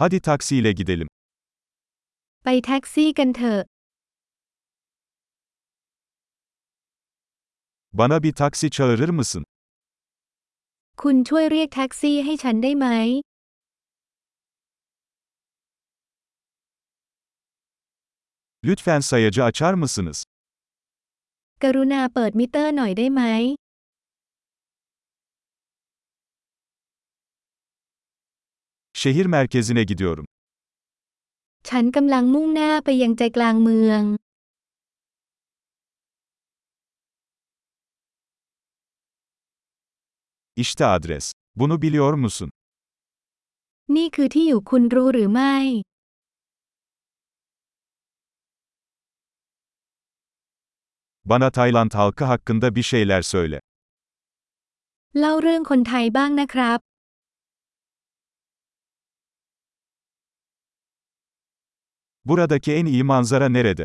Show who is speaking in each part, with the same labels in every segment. Speaker 1: Hadi taksiyle gidelim.
Speaker 2: ไปแท็กซี่กันเถอะ
Speaker 1: Bana bir taksi çağırır mısın?
Speaker 2: คุณช่วยเรียกแท็กซี่ให้ฉันได้ไหม
Speaker 1: Lütfen sayacı açar mısınız?
Speaker 2: กรุณาเปิดมิเตอร์หน่อยได้ไหม
Speaker 1: Şehir merkezine gidiyorum.
Speaker 2: ฉันกำลังมุ่งหน้าไปยังใจกลางเมือง
Speaker 1: İşte adres. Bunu biliyor musun?
Speaker 2: นี่คือที่อยู่คุณรู้หรือไม่
Speaker 1: Bana Tayland halkı hakkında bir şeyler söyle.
Speaker 2: เล่าเรื่องคนไทยบ้างนะครับ
Speaker 1: Buradaki en iyi manzara nerede?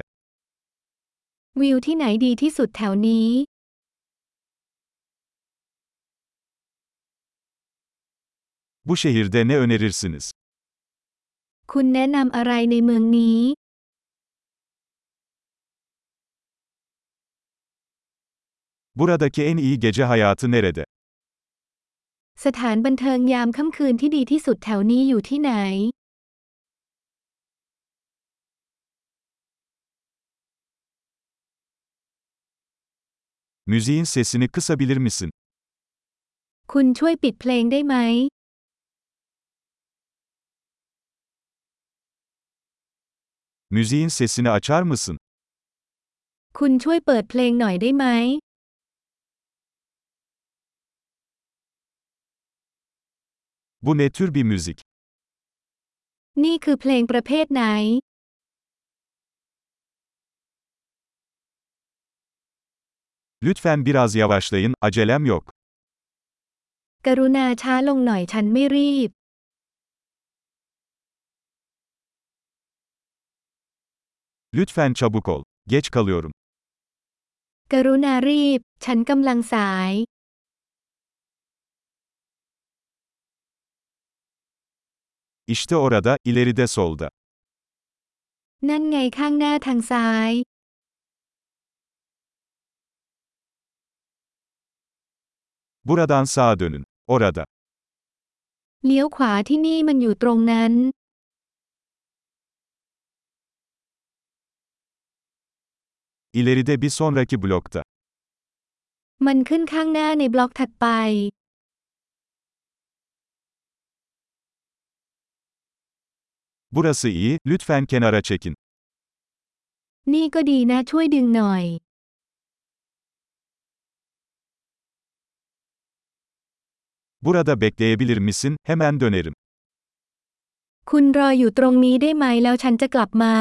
Speaker 2: วิวที่ไหนดีที่สุดแถวนี้
Speaker 1: Bu şehirde ne önerirsiniz?
Speaker 2: คุณแนะนำอะไรในเมืองนี้
Speaker 1: Buradaki en iyi gece hayatı nerede?
Speaker 2: สถานบันเทิงยามค่ำคืนที่ดีที่สุดแถวนี้อยู่ที่ไหน
Speaker 1: Müziğin sesini kısabilir misin?
Speaker 2: คุณช่วยปิดเพลงได้ไหม
Speaker 1: Müziğin sesini açar mısın?
Speaker 2: คุณช่วยเปิดเพลงหน่อยได้ไหม
Speaker 1: Bu ne tür bir müzik?
Speaker 2: นี่คือเพลงประเภทไหน
Speaker 1: Lütfen biraz yavaşlayın, acelem yok.
Speaker 2: กรุณาช้าลงหน่อยฉันไม่รีบ
Speaker 1: Lütfen çabuk ol. Geç kalıyorum.
Speaker 2: กรุณารีบ ฉันกำลังสาย
Speaker 1: İşte orada, ileride solda.
Speaker 2: นั่นไงข้างหน้าทางซ้าย
Speaker 1: Buradan sağa dönün. Orada.
Speaker 2: เลี้ยวขวาที่นี่มันอยู่ตรงนั้น
Speaker 1: İleride bir sonraki blokta.
Speaker 2: มันขึ้นข้างหน้าในบล็อกถัดไป
Speaker 1: Burası iyi, lütfen kenara çekin.
Speaker 2: นี่ก็ดีนะช่วยดึงหน่อย
Speaker 1: Burada bekleyebilir misin? Hemen dönerim.
Speaker 2: คุณรออยู่ตรงนี้ได้ไหมแล้วฉันจะกลับมา